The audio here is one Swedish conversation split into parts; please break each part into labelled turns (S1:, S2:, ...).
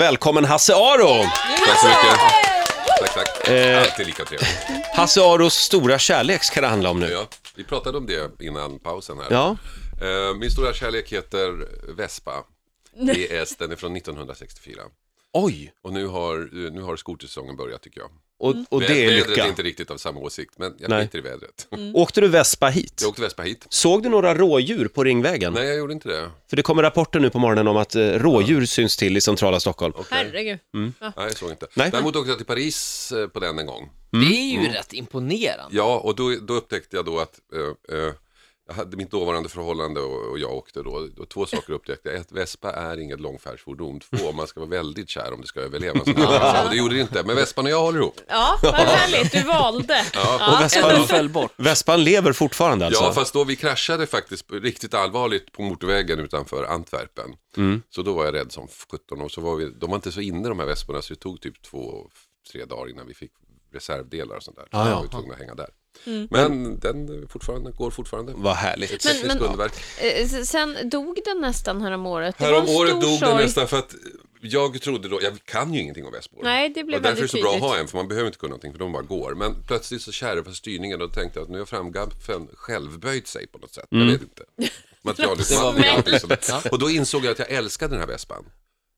S1: Välkommen Hasse Aro!
S2: Tack så mycket. Tack, tack.
S1: Eh.
S2: Alltid lika trevligt.
S1: Hasse Aros stora kärlek ska det handla om nu.
S2: Ja, vi pratade om det innan pausen här.
S1: Ja.
S2: Eh, Min stora kärlek heter Vespa. VS, den är från 1964.
S1: Oj,
S2: Och nu har, nu har skotersäsongen börjat tycker jag.
S1: och, och
S2: Vä-
S1: det är
S2: Vädret är
S1: lycka.
S2: inte riktigt av samma åsikt, men jag
S1: Nej. Mm.
S2: skiter i vädret.
S1: Åkte du vespa hit?
S2: Jag åkte Vespa hit.
S1: Såg du några rådjur på Ringvägen?
S2: Nej, jag gjorde inte det.
S1: För det kommer rapporter nu på morgonen om att eh, rådjur syns till i centrala Stockholm.
S3: Herregud.
S2: Nej, jag såg inte.
S1: Nej.
S2: Däremot åkte jag till Paris eh, på den en gång.
S4: Det är ju rätt imponerande.
S2: Ja, och då, då upptäckte jag då att eh, eh, jag hade mitt dåvarande förhållande och, och jag åkte då. Och två saker upptäckte jag. Ett, Vespa är inget långfärdsfordon. Två, man ska vara väldigt kär om du ska överleva. en sån här resa. Och det gjorde det inte, men Vespan och jag håller ihop.
S3: Ja, vad härligt. Du valde.
S1: Och
S4: Den
S1: vespan,
S4: föll bort.
S1: vespan lever fortfarande alltså?
S2: Ja, fast då vi kraschade faktiskt riktigt allvarligt på motorvägen utanför Antwerpen.
S1: Mm.
S2: Så då var jag rädd som 17 och så var vi, de var inte så inne de här Vesporna så det tog typ två, tre dagar innan vi fick reservdelar och sånt där. Så
S1: Ah, ja.
S2: var vi tvungna att hänga där.
S3: Mm.
S2: Men den eh, fortfarande, går fortfarande.
S1: Vad härligt.
S3: Men-
S2: Tekniskt
S3: men-
S2: underverk.
S3: Eh, s- Sen dog den nästan häromåret. Det var en
S2: Häromåret
S3: stor
S2: dog den
S3: sorg.
S2: nästan för att jag trodde då, jag kan ju ingenting om Vespor.
S3: Nej, det blev
S2: och därför är det
S3: väldigt
S2: så bra att
S3: tydligt.
S2: ha en, för man behöver inte kunna någonting, för de bara går. Men plötsligt så kärvar styrningen och då tänkte jag att nu har framgaffeln självböjt sig på något sätt. Jag vet inte. Materialutmattning
S4: Det var
S2: och allt liksom. Och då insåg jag att jag älskade den här Vespan.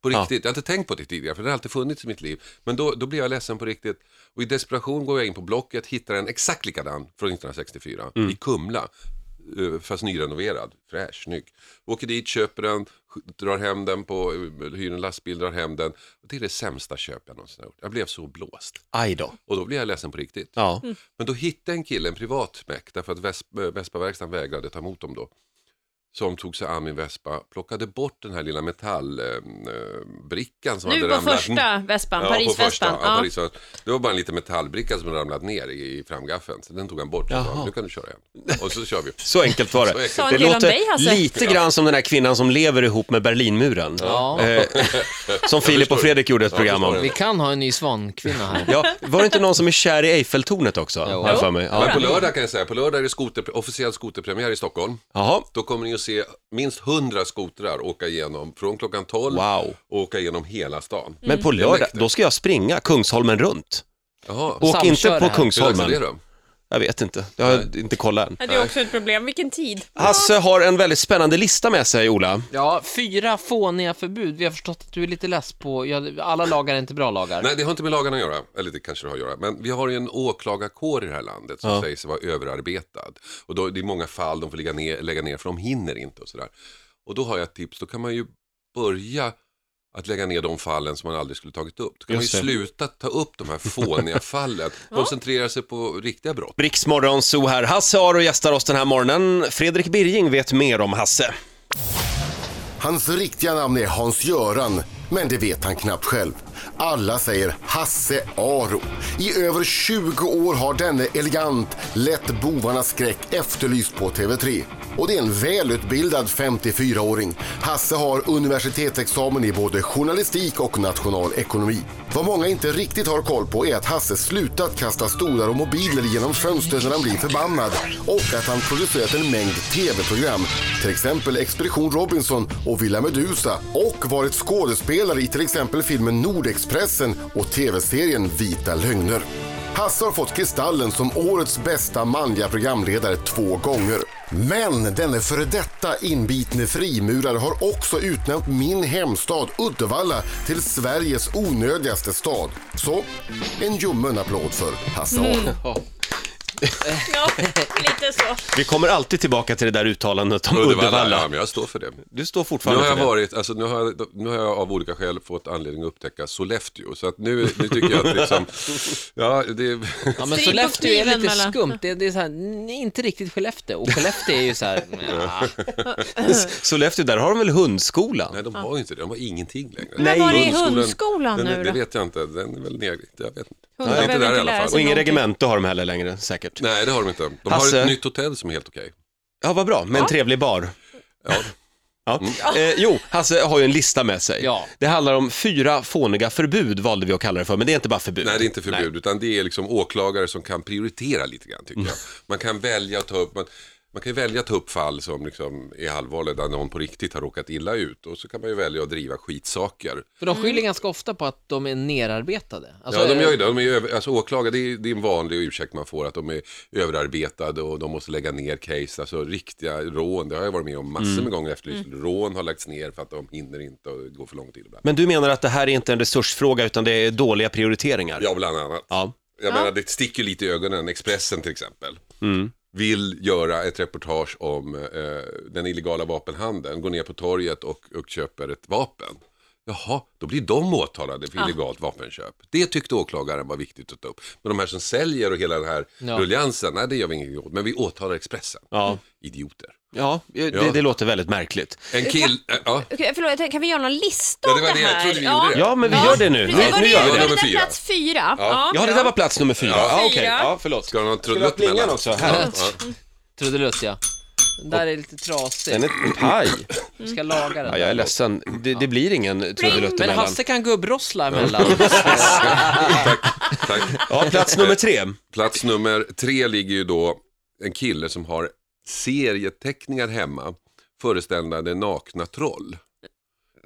S2: På riktigt. Jag har inte tänkt på det tidigare, för det har alltid funnits i mitt liv. Men då, då blev jag ledsen på riktigt. Och i desperation går jag in på Blocket, hittar en exakt likadan från 1964
S4: Mm.
S2: i Kumla. Eh, Fast nyrenoverad, fräsch, snygg. Åker dit, köper den, sk- drar hem den på, eh, hyr en lastbil, drar hem den. Och det är det sämsta köp jag någonsin har gjort. Jag blev så blåst.
S1: Aj då.
S2: Och då blev jag ledsen på riktigt.
S1: Ja.
S2: Men då hittade en kille, en privatmäck, därför att Vesp- eh, Vespaverkstan vägrade ta emot dem då. Som tog sig an min Vespa, plockade bort den här lilla metallbrickan som
S3: Nu
S2: hade
S3: på
S2: ramlat Mm.
S3: första vespan,
S2: Ja, på första,
S3: Parisvespan.
S2: ja,
S3: Ja.
S2: Paris Det var bara en liten metallbricka som hade ramlat ner i i framgaffeln. Så den tog han bort och
S1: Jaha.
S2: sa, nu kan du köra igen. Och så kör vi.
S1: Så enkelt var
S2: Så
S1: det.
S2: enkelt.
S3: Sa en
S1: Det
S3: kille om
S1: låter
S3: dig, Hasse?
S1: lite grann som den här kvinnan som lever ihop med Berlinmuren.
S4: Ja.
S1: Eh, som Filip och
S2: förstår.
S1: Fredrik gjorde ett
S2: Ja,
S1: program
S2: jag
S1: om.
S2: förstår
S4: Vi kan ha en ny svankvinna här.
S1: Ja, var det inte någon som är kär i Eiffeltornet också?
S4: Jo.
S1: Har jag för mig.
S2: Men på
S1: Ja.
S2: lördag kan jag säga, på lördag är det skoter, officiell skoterpremiär i Stockholm.
S1: Jaha,
S2: Då kommer ni att se minst 100 skotrar åka igenom från klockan 12
S1: Wow. Mm.
S2: och åka igenom hela stan.
S1: men på
S2: Det är
S1: lördag,
S2: mäktigt.
S1: då ska jag springa Kungsholmen runt.
S2: Jaha.
S1: Åk
S4: Samköra
S1: inte på
S2: Hur
S4: här.
S2: dags är det
S1: Kungsholmen.
S2: då?
S1: Jag vet inte, jag har inte kollat än.
S3: Ja, Det är också ett problem. Vilken tid.
S1: Hasse har en väldigt spännande lista med sig, Ola.
S4: Ja, fyra fåniga förbud. Vi har förstått att du är lite less på, ja, alla lagar är inte bra lagar.
S2: Nej, det har inte med lagarna att göra. Eller det kanske det har att göra. Men vi har ju en åklagarkår i det här landet som sägs vara överarbetad. Och då, det är många fall de får lägga ner, lägga ner för de hinner inte och sådär. Och då har jag ett tips. Då kan man ju börja att lägga ner de fallen som man aldrig skulle tagit upp. Då kan
S1: Just
S2: man
S1: det.
S2: ju sluta ta upp de här fåniga fallen. Koncentrera sig på riktiga brott.
S1: Riksmorgon så här. Hasse Aro gästar oss den här morgonen. Fredrik Birging vet mer om Hasse.
S5: Hans riktiga namn är Hans-Göran, men det vet han knappt själv. Alla säger Hasse Aro. I över 20 år har denne elegant lätt bovarnas skräck efterlyst på TV3. Och det är en välutbildad 54-åring. Hasse har universitetsexamen i både journalistik och nationalekonomi. Vad många inte riktigt har koll på är att Hasse slutat kasta stolar och mobiler genom fönstret när han blir förbannad och att han producerat en mängd tv-program, till exempel Expedition Robinson och Villa Medusa och varit skådespelare i till exempel filmen Nordexpressen och tv-serien Vita lögner. Hasse har fått Kristallen som årets bästa manliga programledare två gånger. Men denne före detta inbitne frimurare har också utnämnt min hemstad Uddevalla till Sveriges onödigaste stad. Så, en ljummen applåd för Hasse Aro.
S3: Ja, lite så.
S1: Vi kommer alltid tillbaka till det där uttalandet om
S2: Ja,
S1: Uddevalla.
S2: men jag står för det.
S1: Du står
S2: Nu
S1: fortfarande
S2: har, jag
S1: för det.
S2: varit, alltså, nu, har jag, nu har jag av olika skäl fått anledning att upptäcka Sollefteå. Så att nu, nu tycker jag att liksom, ja, det,
S4: Ja, men
S3: Strid på
S4: Sollefteå är
S3: kniven
S4: lite
S3: mellan-
S4: skumt. Det, det är så här, n- inte riktigt Skellefteå. Och Skellefteå är ju så här, nja.
S1: Sollefteå, där har de väl hundskolan?
S2: nej de har ju inte det, de har ingenting längre.
S3: Men var är
S2: Hundskolan-
S3: hundskolan
S2: den,
S3: nu
S2: Det
S3: då?
S2: vet jag inte, den är väl nere, jag vet inte.
S3: Hundar
S2: Den är
S3: behöver
S2: där i
S3: inte
S2: alla
S3: lära
S2: fall.
S1: Och
S3: sig.
S1: ingen
S3: någonting.
S1: regemente har de heller längre, säkert.
S2: Nej, det har de inte. De
S1: Hasse-
S2: har ett nytt hotell som är helt okej.
S1: Ja, vad bra, med en trevlig bar.
S2: Ja. Mm.
S1: Ja. Eh, jo, Hasse har ju en lista med sig.
S4: Ja.
S1: Det handlar om fyra fåniga förbud, valde vi att kalla det för, men det är inte bara förbud.
S2: Nej, det är inte förbud, utan det är liksom åklagare som kan prioritera lite grann tycker jag. Man kan välja att ta upp, men Man kan ju välja att ta upp fall som liksom är allvarliga där någon på riktigt har råkat illa ut och så kan man ju välja att driva skitsaker.
S4: För de skyller ganska ofta på att de är nerarbetade. Alltså,
S2: Ja, de gör ju det. De är ju över, alltså åklagare, det är, det är en vanlig ursäkt man får att de är överarbetade och de måste lägga ner case. Alltså riktiga rån, det har jag varit med om massor med gånger efter Rån har lagts ner för att de hinner inte och det går för lång tid ibland.
S1: Men du menar att det här är inte en resursfråga utan det är dåliga prioriteringar?
S2: Ja, bland annat.
S1: Ja.
S2: Jag
S3: Ja.
S2: menar, det sticker ju lite i ögonen. Expressen till exempel. Vill göra ett reportage om eh, den illegala vapenhandeln. Går ner på torget och, och köper ett vapen. Jaha, då blir de åtalade för illegalt vapenköp. Det tyckte åklagaren var viktigt att ta upp. Men de här som säljer och hela den här
S4: Ja.
S2: ruljansen, nej det gör vi ingenting åt. Men vi åtalar Expressen.
S1: Ja.
S2: Idioter.
S1: Ja, det, det låter väldigt märkligt.
S2: En kill... eh, ja.
S3: Okej, förlåt, jag tänkte, kan vi göra någon lista
S2: Ja,
S3: om
S2: det var det. Jag
S3: här?
S2: trodde vi gjorde det.
S1: Ja, men vi gör det nu.
S3: Precis,
S1: Nu,
S3: var
S1: nu
S3: det,
S1: gör vi
S3: var
S1: det.
S3: det.
S2: Nummer
S3: där
S2: fyra.
S3: plats fyra? Ja,
S1: Ja, det där var plats nummer fyra. Ja, okej.
S3: Fyra.
S1: Ja, förlåt.
S2: Ska du ha någon
S1: Ska du ha
S2: trudelutt
S1: plingan
S2: mellan?
S1: också? Här.
S4: Trudelutt. Trudelutt, ja. Den där är lite trasig.
S1: Den är paj.
S4: Vi ska laga den.
S1: Ja, jag är ledsen. Det, det blir ingen trudelutt
S4: Men
S1: emellan.
S4: Hasse kan gubbrossla emellan.
S2: Tack.
S1: Ja, plats nummer tre.
S2: Plats nummer tre ligger ju då en kille som har serieteckningar hemma föreställande nakna troll.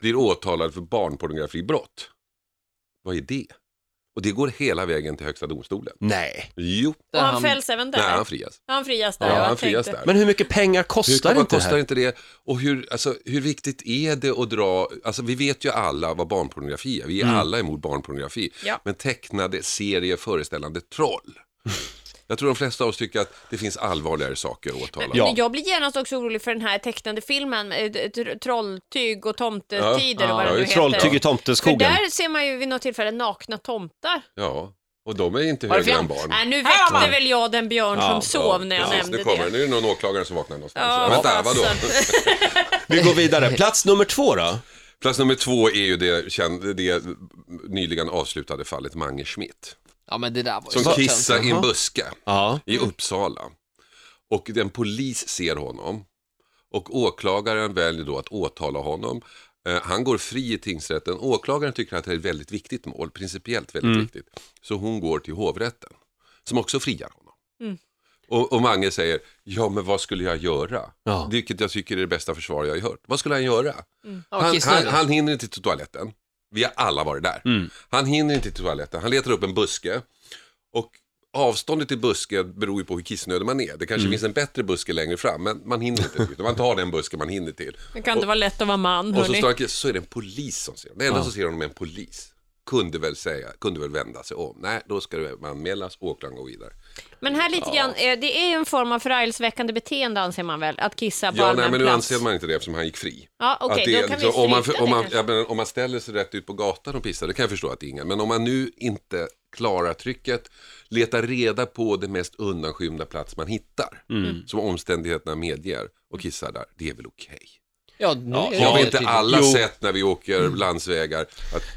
S2: Blir åtalad för barnpornografibrott. Vad är det? Och det går hela vägen till högsta domstolen.
S1: Nej.
S2: Jo,
S4: Där
S3: och han
S4: han-
S3: fälls även där.
S2: nej han frias.
S3: Ja, han frias där.
S2: Ja,
S3: jag
S2: han frias
S3: tänkte.
S2: där.
S1: Men hur mycket pengar
S2: Hur
S1: kostar
S2: kan man
S1: inte det
S2: kostar
S1: här?
S2: inte det? Och hur, alltså, hur viktigt är det att dra, alltså vi vet ju alla vad barnpornografi är, vi är alla emot barnpornografi.
S3: Ja.
S2: Men tecknade serier föreställande troll. Jag tror de flesta av oss tycker att det finns allvarligare saker att åtala.
S1: Ja.
S3: Men jag blir genast också orolig för den här tecknade filmen, med, eh, tr- Trolltyg och tomtetider
S4: Ja.
S3: och vad
S2: Ja,
S3: det nu
S2: just
S3: heter.
S1: Trolltyg i
S3: För
S1: tomteskogen.
S3: där ser man ju vid något tillfälle nakna tomtar.
S2: Ja, och de är inte
S4: Var det
S2: högre än
S4: fjant?
S2: barn.
S3: Nej, nu
S4: Här har
S3: väckte
S4: man.
S3: väl jag den björn som sov när jag
S2: precis,
S3: nämnde
S2: nu kommer.
S3: det.
S2: Nu är det någon åklagare som vaknar någonstans.
S3: Ja, alltså.
S2: Vänta, vadå?
S3: fasen.
S1: Vi går vidare. Plats nummer två då?
S2: Plats nummer två är ju det, känd, det nyligen avslutade fallet Mange Schmidt.
S4: Ja, men det där var ju
S2: Som
S4: så
S2: kissar i en
S4: Jaha.
S2: buske.
S1: Ja.
S2: i Uppsala. Och en polis ser honom. Och åklagaren väljer då att åtala honom. Eh, Han går fri i tingsrätten. Åklagaren tycker att det är ett väldigt viktigt mål, principiellt väldigt viktigt. Så hon går till hovrätten, som också friar honom. Och, och Mange säger, ja men vad skulle jag göra?
S1: Ja.
S2: Vilket jag tycker är det bästa försvar jag har hört. Vad skulle han göra?
S4: Ja,
S2: Han, han,
S4: kissnödig.
S2: han hinner inte till toaletten. Vi har alla varit där. Han hinner inte till toaletten. Han letar upp en buske. Och avståndet till busken beror ju på hur kissnödig man är. Det kanske finns en bättre buske längre fram, men man hinner inte. dit. Man tar den buske man hinner till.
S3: Nu kan det vara lätt att vara man,
S2: Och så,
S3: hörni.
S2: står han, så är det en polis som ser honom. Det enda som ser honom är en polis. Kunde väl säga, kunde väl vända sig om. Nej, då ska det anmälas, åklagaren går vidare.
S3: Men här lite grann, eh, det är ju en form av förargelseväckande beteende anser man väl, att kissa på
S2: Ja,
S3: allmän
S2: nej, men nu
S3: plats.
S2: anser man inte det eftersom han gick fri.
S3: Ja, okej,
S2: Att det
S3: då
S2: är liksom,
S3: kan vi
S2: om, man,
S3: stryka
S2: om,
S3: det
S2: man,
S3: kanske.
S2: ja, men om man ställer sig rätt ut på gatan och pissar, det kan jag förstå att det är ingen. Men om man nu inte klarar trycket, letar reda på den mest undanskymda plats man hittar,
S1: Mm.
S2: som omständigheterna medger, och kissar där, det är väl okej.
S4: Ja, nu är det
S2: Har vi
S4: ju
S2: inte
S4: tydligt.
S2: alla
S1: Jo. Mm.
S2: sett när vi åker landsvägar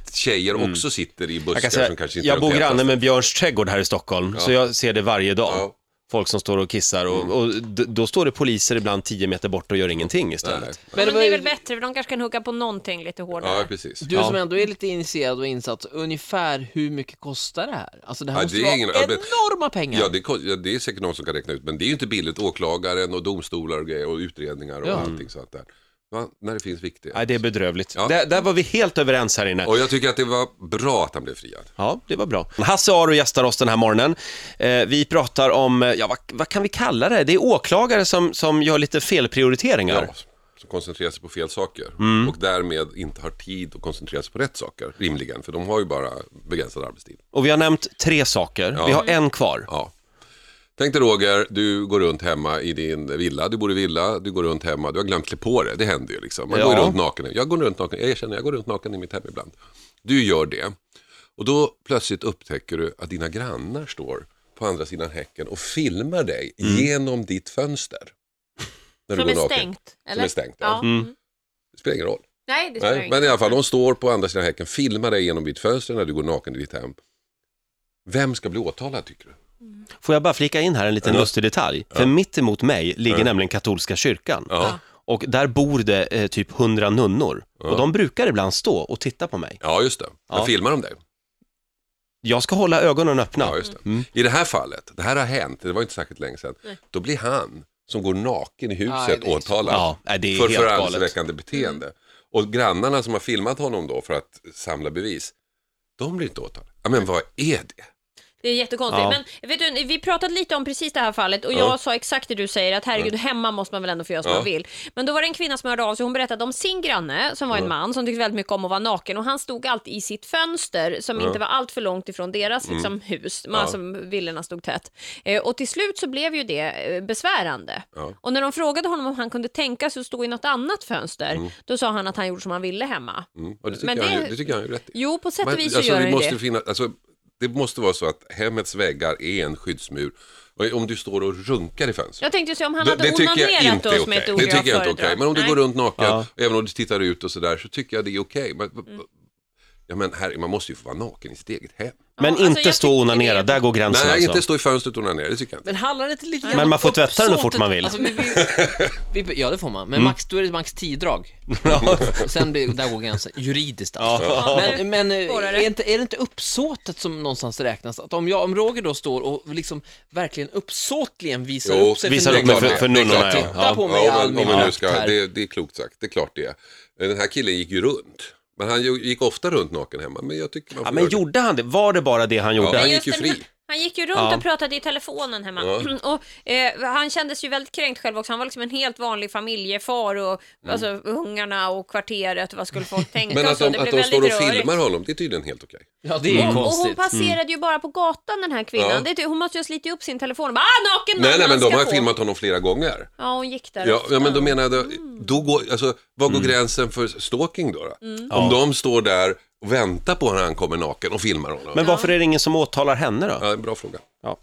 S2: att tjejer också sitter i buskar
S1: Jag kan
S2: som
S1: säga,
S2: kanske inte är
S1: jag
S2: de
S1: bor
S2: tätaste?
S1: granne med Björns trädgård här i Stockholm, så jag ser det varje dag.
S2: Ja. Mm.
S1: Folk som står och kissar och, och d- då står det poliser ibland 10 meter bort och gör ingenting istället.
S3: Men,
S4: det
S3: det
S4: var
S3: är
S4: ju-
S3: väl bättre, för de kanske kan hugga på någonting lite hårdare.
S2: Ja, precis.
S4: Du som ändå är lite initierad och insatt, ungefär hur mycket kostar det här? Alltså det här
S2: Ja,
S4: måste
S2: det är
S4: vara
S2: ingen- ja, men-
S4: enorma pengar.
S2: Ja det, kost- ja, det är säkert någon som kan räkna ut, men det är ju inte billigt. Åklagaren och domstolar och grejer och utredningar och
S4: Ja.
S2: allting sånt där. Va? När det finns viktigt.
S1: Nej, det är bedrövligt.
S2: Ja.
S1: Där, där var vi helt överens här inne.
S2: Och jag tycker att det var bra att han blev friad.
S1: Ja, det var bra. Hasse Aro gästar oss den här morgonen. Eh, vi pratar om, eh, ja vad, vad kan vi kalla det? Det är åklagare som, som gör lite felprioriteringar.
S2: Ja, som koncentrerar sig på fel saker och därmed inte har tid att koncentrera sig på rätt saker, rimligen. För de har ju bara begränsad arbetstid.
S1: Och vi har nämnt tre saker. Vi har en kvar.
S2: Ja. Tänk dig Roger, du går runt hemma i din villa, du bor i villa, du går runt hemma, du har glömt klä på dig, det händer ju liksom. Man går
S1: Ja.
S2: ju runt naken, jag går runt naken, jag erkänner, jag går runt naken i mitt hem ibland. Du gör det, och då plötsligt upptäcker du att dina grannar står på andra sidan häcken och filmar dig genom ditt fönster. När
S3: Som är
S2: naken.
S3: stängt, eller?
S2: är stängt, ja.
S3: ja. Mm.
S2: Det spelar ingen roll.
S3: Nej, det spelar
S2: Nej,
S3: ingen
S2: men i alla fall, de står på andra sidan häcken, filmar dig genom ditt fönster när du går naken i ditt hem. Vem ska bli åtalad tycker du?
S1: Får jag bara flika in här en liten lustig detalj? För mitt emot mig ligger nämligen katolska kyrkan.
S2: Ja.
S1: Och där bor det eh, typ hundra nunnor. Och de brukar ibland stå och titta på mig.
S2: Ja, just det. Men
S1: Ja.
S2: filmar de dig?
S1: Jag ska hålla ögonen öppna.
S2: Ja, just det. I det här fallet, det här har hänt, det var inte särskilt länge sedan, då blir han som går naken i
S4: Ja, det är
S2: huset
S4: så-
S2: åtalad
S1: Ja, nej, det är
S2: för
S1: helt galet. Mm.
S2: förargelseväckande beteende. Och grannarna som har filmat honom då för att samla bevis, de blir inte åtalade. Ja, men vad är det?
S3: Det är jättekonstigt.
S1: Ja.
S3: Men vet du, vi pratade lite om precis det här fallet och jag
S2: Ja.
S3: sa exakt det du säger att herregud, hemma måste man väl ändå få göra som
S2: Ja.
S3: man vill. Men då var det en kvinna som hörde av sig hon berättade om sin granne som var en man som tyckte väldigt mycket om att vara naken och han stod alltid i sitt fönster som inte var allt för långt ifrån deras
S2: Mm.
S3: liksom, hus, ja. alltså villorna stod tätt. Eh, och till slut så blev ju det eh, besvärande.
S2: Ja.
S3: Och när de frågade honom om han kunde tänka sig att stå i något annat fönster, då sa han att han gjorde som han ville hemma.
S2: Mm. Och det tycker,
S3: Men
S2: jag,
S3: det-
S2: det... tycker jag är rätt i.
S3: Jo, på sätt och
S2: Men,
S3: vis så
S2: alltså,
S3: gör
S2: vi
S3: han ju
S2: måste
S3: det.
S2: Finna, alltså, det måste vara så att hemmets väggar är en skyddsmur. Och om du står och runkar i fönstret.
S3: Jag tänkte se om han
S2: det,
S3: hade
S2: det tycker jag
S3: onanerat
S2: inte
S3: då,
S2: är
S3: som är ett
S2: okej.
S3: ord
S2: Det tycker jag inte är
S3: föredrar.
S2: okej. Men om du
S3: Nej.
S2: går runt naken,
S1: Ja.
S2: och även om du tittar ut och sådär, så tycker jag det är okej. Men- Ja, men här, man måste ju få vara naken i sitt eget hem.
S1: Men
S3: alltså,
S1: inte
S3: jag
S1: stå
S3: tycker
S1: och
S3: det.
S1: onanera, där går gränsen
S2: Nej,
S1: alltså.
S2: inte stå i fönstret och onanera, det tycker jag inte.
S4: Men handlar det inte lite
S1: Men
S4: om
S1: man får tvätta den hur
S4: uppsåtet?
S1: fort man vill. Mm.
S4: Alltså, vi, vi, vi, ja, det får man. Men max, då är det max 10 drag. Sen blir, där går gränsen. Juridiskt alltså.
S3: Ja.
S4: Men, men eh,
S3: Svårare.
S4: är, inte, är det inte uppsåtet som någonstans räknas? Att om, jag, om Roger då står och liksom verkligen uppsåtligen visar
S2: Jo,
S4: upp sig
S1: visar
S4: för
S1: upp mig
S4: någon.
S1: för- för
S2: Det är
S1: nunnorna,
S2: klart
S1: ja.
S2: det.
S4: Titta på mig i
S2: men-
S4: all
S2: om
S4: min
S2: vi nu
S4: makt
S2: ska,
S4: här.
S2: det, det är klokt sagt, det är klart det är. Den här killen gick ju runt. Men han ju- gick ofta runt naken hemma, men jag tycker man får
S1: Ja, men
S2: göra det.
S1: gjorde han det? Var det bara det han gjorde?
S2: Ja.
S3: Men
S2: Han
S3: just
S2: gick ju
S3: den här-
S2: fri.
S3: Han gick ju runt
S1: Ja.
S3: och pratade i telefonen hemma. Och, eh, han kändes ju väldigt kränkt själv också. Han var liksom en helt vanlig familjefar och alltså, ungarna och kvarteret. Vad skulle folk tänka?
S2: Mm. Men alltså,
S3: och
S2: att
S3: så.
S2: de,
S3: Det
S2: att
S3: blev
S2: de står och
S3: väldigt rörigt. Mm,
S2: filmar honom, det är tydligen helt okej.
S4: Ja, det
S2: Mm.
S4: är ju
S3: Och hon
S4: konstigt. Mm.
S3: passerade ju bara på gatan den här kvinnan.
S2: Ja.
S3: Det är ty- hon måste ju ha slitit upp sin telefon och bara ah, naken man,
S2: Nej, nej,
S3: han
S2: men de
S3: ska
S2: har
S3: på."
S2: filmat honom flera gånger.
S3: Ja, Mm. hon gick där
S2: Ja,
S3: också.
S2: ja men då menar jag, då, då går, alltså, vad går gränsen för stalking då? då? Om
S1: Mm.
S3: Mm.
S1: Ja.
S2: de står där och väntar på när han kommer naken och filmar honom.
S1: Men varför är det ingen som åtalar henne då?
S2: Ja, en bra fråga.
S1: Ja.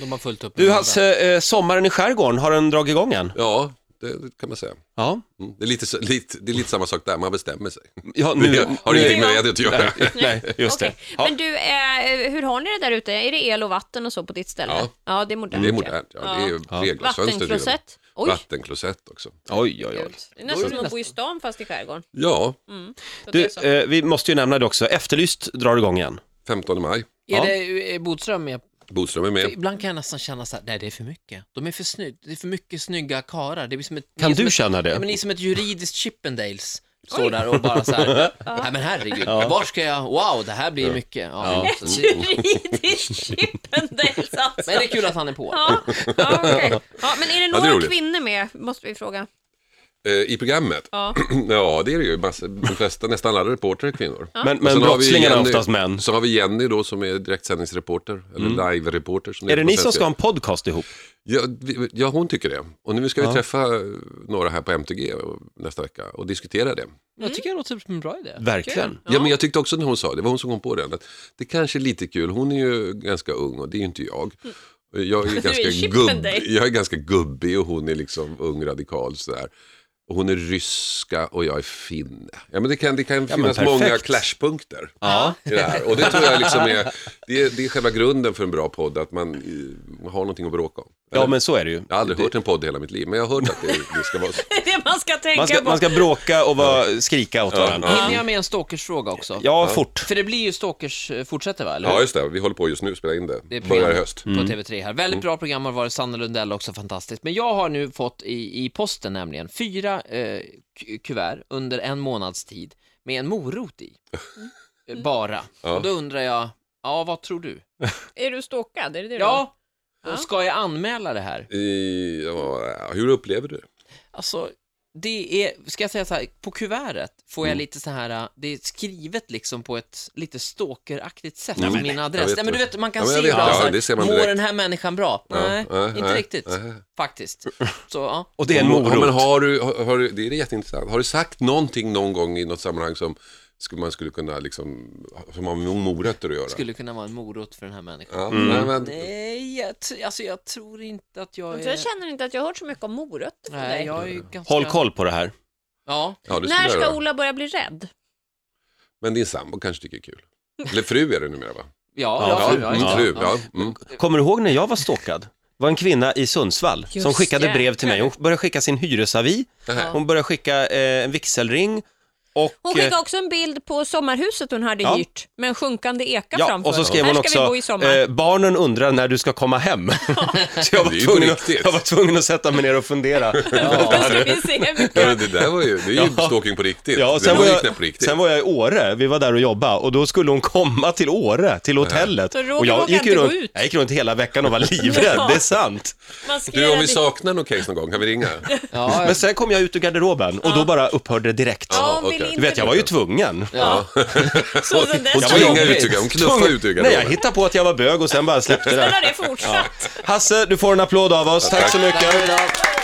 S4: De har fullt upp
S1: Du,
S4: med
S1: Hasse, eh, sommaren i skärgården, har den dragit igång än?
S2: Ja, det, det kan man säga.
S1: Ja.
S2: Mm. Det, är lite, så- lite, det är lite samma sak där, man bestämmer sig.
S3: Mm.
S1: ja
S2: Det
S1: nu,
S2: har
S1: nu-
S2: ingenting med vädret att göra.
S1: Nej, just
S3: Okej.
S1: det. Ja.
S3: Men du, eh, hur har ni det där ute? Är det el och vatten och så på ditt ställe?
S2: Ja.
S3: det är modernt.
S2: Det är
S3: ja.
S2: modernt, ja, Alltså, det är ju
S1: Ja.
S2: reglasfönster. till och med.
S3: Vattenklosett. Oj.
S2: Vattenklosett också.
S1: Oj, oj, oj.
S3: Gud. Det är nästan som att bo i stan fast i skärgården.
S2: Ja,
S3: Så det
S1: Du,
S3: är så.
S1: eh, vi måste ju nämna det också, Efterlyst drar igång igen.
S2: 15 maj.
S4: Är
S1: Ja.
S4: det är Bodström med?
S2: Bodström är med.
S4: Ibland kan jag nästan känna så här, nej det är för mycket. De är för snygg, det är för mycket snygga karar. Det blir som ett, ni
S1: Kan
S4: är som
S1: du
S4: ett,
S1: känna det?
S4: Ja, men ni är som ett juridiskt Chippendales. Står där och bara så här, nej men herregud, var ska jag, wow det här blir mycket. Ja, Så,
S3: Juridiskt Chippendales alltså.
S4: men det är kul att han är på.
S3: Ja, ja, okej. ja, men
S2: Ja,
S3: är det
S2: det är
S3: några
S2: roligt.
S3: kvinnor med, måste vi fråga.
S2: Eh, I programmet?
S3: Ja.
S2: Ja, det är det ju. Massa, de flesta, nästan alla reportrar är kvinnor.
S1: Men,
S2: Och sen
S1: men
S2: har vi
S1: brottslingarna är
S2: Jenny-
S1: oftast män. Mm.
S2: Så har vi Jenny då som är direktsändningsreporter, eller live-reporter. som
S1: Är det
S2: heter
S1: ni som
S2: på svenska.
S1: ska ha en podcast ihop?
S2: Ja, vi- ja, hon tycker det. Och nu ska vi träffa eh, några här på MTG nästa vecka och diskutera det.
S4: Jag tycker det låter som en bra idé.
S1: Verkligen.
S2: Ja. men jag tyckte också när hon sa det, det var hon som kom på den, att det kanske är lite kul, hon är ju ganska ung och det är ju inte jag. Jag är, ganska,
S3: chippen
S2: gubb,
S3: dig.
S2: jag är ganska gubbig och hon är liksom ung radikal sådär. Och hon är ryska och jag är finne. Ja, men det kan, det kan
S1: men
S2: finnas
S1: perfekt.
S2: många clashpunkter
S1: Ja.
S2: i det här. Och det tror jag liksom är, det är, det är själva grunden för en bra podd, att man eh, har någonting att bråka om.
S1: Ja, men så är det ju.
S2: Jag har aldrig hört en podd i hela mitt liv, men jag har hört att det, det ska vara så.
S3: Det är det man ska tänka
S1: Man ska,
S3: på.
S1: man ska bråka och vara, skrika åt varandra.
S4: Hinner jag med en stalkersfråga också?
S1: Ja, fort.
S4: För det blir ju stalkers, eh, fortsätter va, eller hur?
S2: Ja, just det, vi håller på just nu att spela in det.
S4: Det är
S2: Börjar i
S4: program
S2: höst.
S4: på TV3 här.
S2: Mm.
S4: Väldigt bra program har varit, Sanna Lundell också fantastiskt. Men jag har nu fått i, i posten nämligen fyra eh, ku- kuvert under en månads tid med en morot i. Eh, Bara. Och då undrar jag, ja vad tror du?
S3: Är du stalkad? Är det det
S4: Ja, och ska jag anmäla det här?
S2: I, ja, hur upplever du det?
S4: Alltså, det är, ska jag säga så här, på kuvertet får jag
S2: Mm.
S4: lite så här, äh, det är skrivet liksom på ett lite stalkeraktigt sätt,
S2: Mm.
S4: min
S2: Jag
S4: adress.
S2: vet
S4: Nej men du
S2: det.
S4: vet, man kan
S2: Ja, men
S4: se
S2: jag vet
S4: ibland
S2: det. Ja,
S4: så här,
S2: det ser man
S4: mår
S2: direkt.
S4: den här människan bra?
S2: Ja,
S4: nej,
S2: nej,
S4: inte
S2: nej,
S4: riktigt,
S2: nej.
S4: faktiskt. Så, ja.
S1: Och det är en
S2: Ja, men
S1: morot.
S2: har du, har, har du, det är jätteintressant. Har du sagt någonting någon gång i något sammanhang som skulle, man skulle kunna liksom, som har med morötter att göra?
S4: Skulle kunna vara en morot för den här människan.
S2: Ja, nej, men,
S4: Nej, jag, t- alltså jag tror inte att jag
S3: då?
S4: är...
S3: Jag känner inte att jag har hört så mycket om morötter från
S4: Nej,
S3: dig.
S4: jag är ju ganska...
S1: Håll koll på det här.
S4: Ja,
S2: Ja, det skulle
S3: När
S2: jag
S3: ska
S2: göra.
S3: Ola börja bli rädd?
S2: Men din sambo kanske tycker det är kul. Eller fru är det numera va?
S4: ja,
S1: Ja,
S4: ja,
S1: fru,
S4: ja,
S2: mm,
S4: ja,
S2: fru,
S4: ja.
S2: ja. Mm.
S1: Kommer du ihåg när jag var stalkad? Det var en kvinna i Sundsvall som
S3: Just
S1: skickade
S3: det.
S1: brev till mig. Hon började skicka sin hyresavi,
S2: Nähä.
S1: hon började skicka eh, en vigselring Och,
S3: Hon
S1: eh,
S3: skickade också en bild på sommarhuset hon hade
S1: Ja.
S3: hyrt med en sjunkande eka
S1: Ja,
S3: framför.
S1: och så skrev hon
S3: Här ska vi
S1: också,
S3: bo i sommar.
S1: eh, barnen undrar när du ska komma hem. så jag
S2: Det är
S1: var,
S2: ju på
S1: tvungen att,
S2: riktigt.
S1: jag var tvungen att sätta mig ner och fundera.
S3: Då ska vi se hur mycket-
S2: Ja, men det där var ju, det är ju
S1: Ja.
S2: stalking på riktigt.
S1: Ja, och
S2: det
S1: sen, var
S2: var liknande på
S1: jag,
S2: riktigt.
S1: sen var jag i Åre, vi var där och jobbade och då skulle hon komma till Åre, till hotellet.
S3: Så Roger
S1: och jag
S3: vågar
S1: gick, ju
S3: inte gå
S1: runt,
S3: ut.
S1: jag gick runt hela veckan och var livrädd,
S3: Ja.
S1: det är sant.
S3: Man skrev
S2: Du, om vi
S3: att-
S2: saknar någon case någon gång, kan vi ringa?
S4: Ja,
S1: Men sen kom jag ut ur garderoben och då bara upphörde det direkt.
S3: Ja, hon
S2: Ja,
S3: ville
S2: okej.
S1: Du
S3: inte
S1: vet, jag var ju tvungen.
S4: ja.
S3: Så sen dess
S1: Jag var
S2: Jag var
S3: har
S2: inga
S1: jobbigt.
S2: uttryck, hon knuffade ut ur
S1: Nej, jag
S2: garderoben.
S1: hittade på att jag var bög och sen bara släppte det.
S3: det fortsatt.
S1: Hasse, du får en applåd av oss. Tack så mycket.
S4: Tack för idag.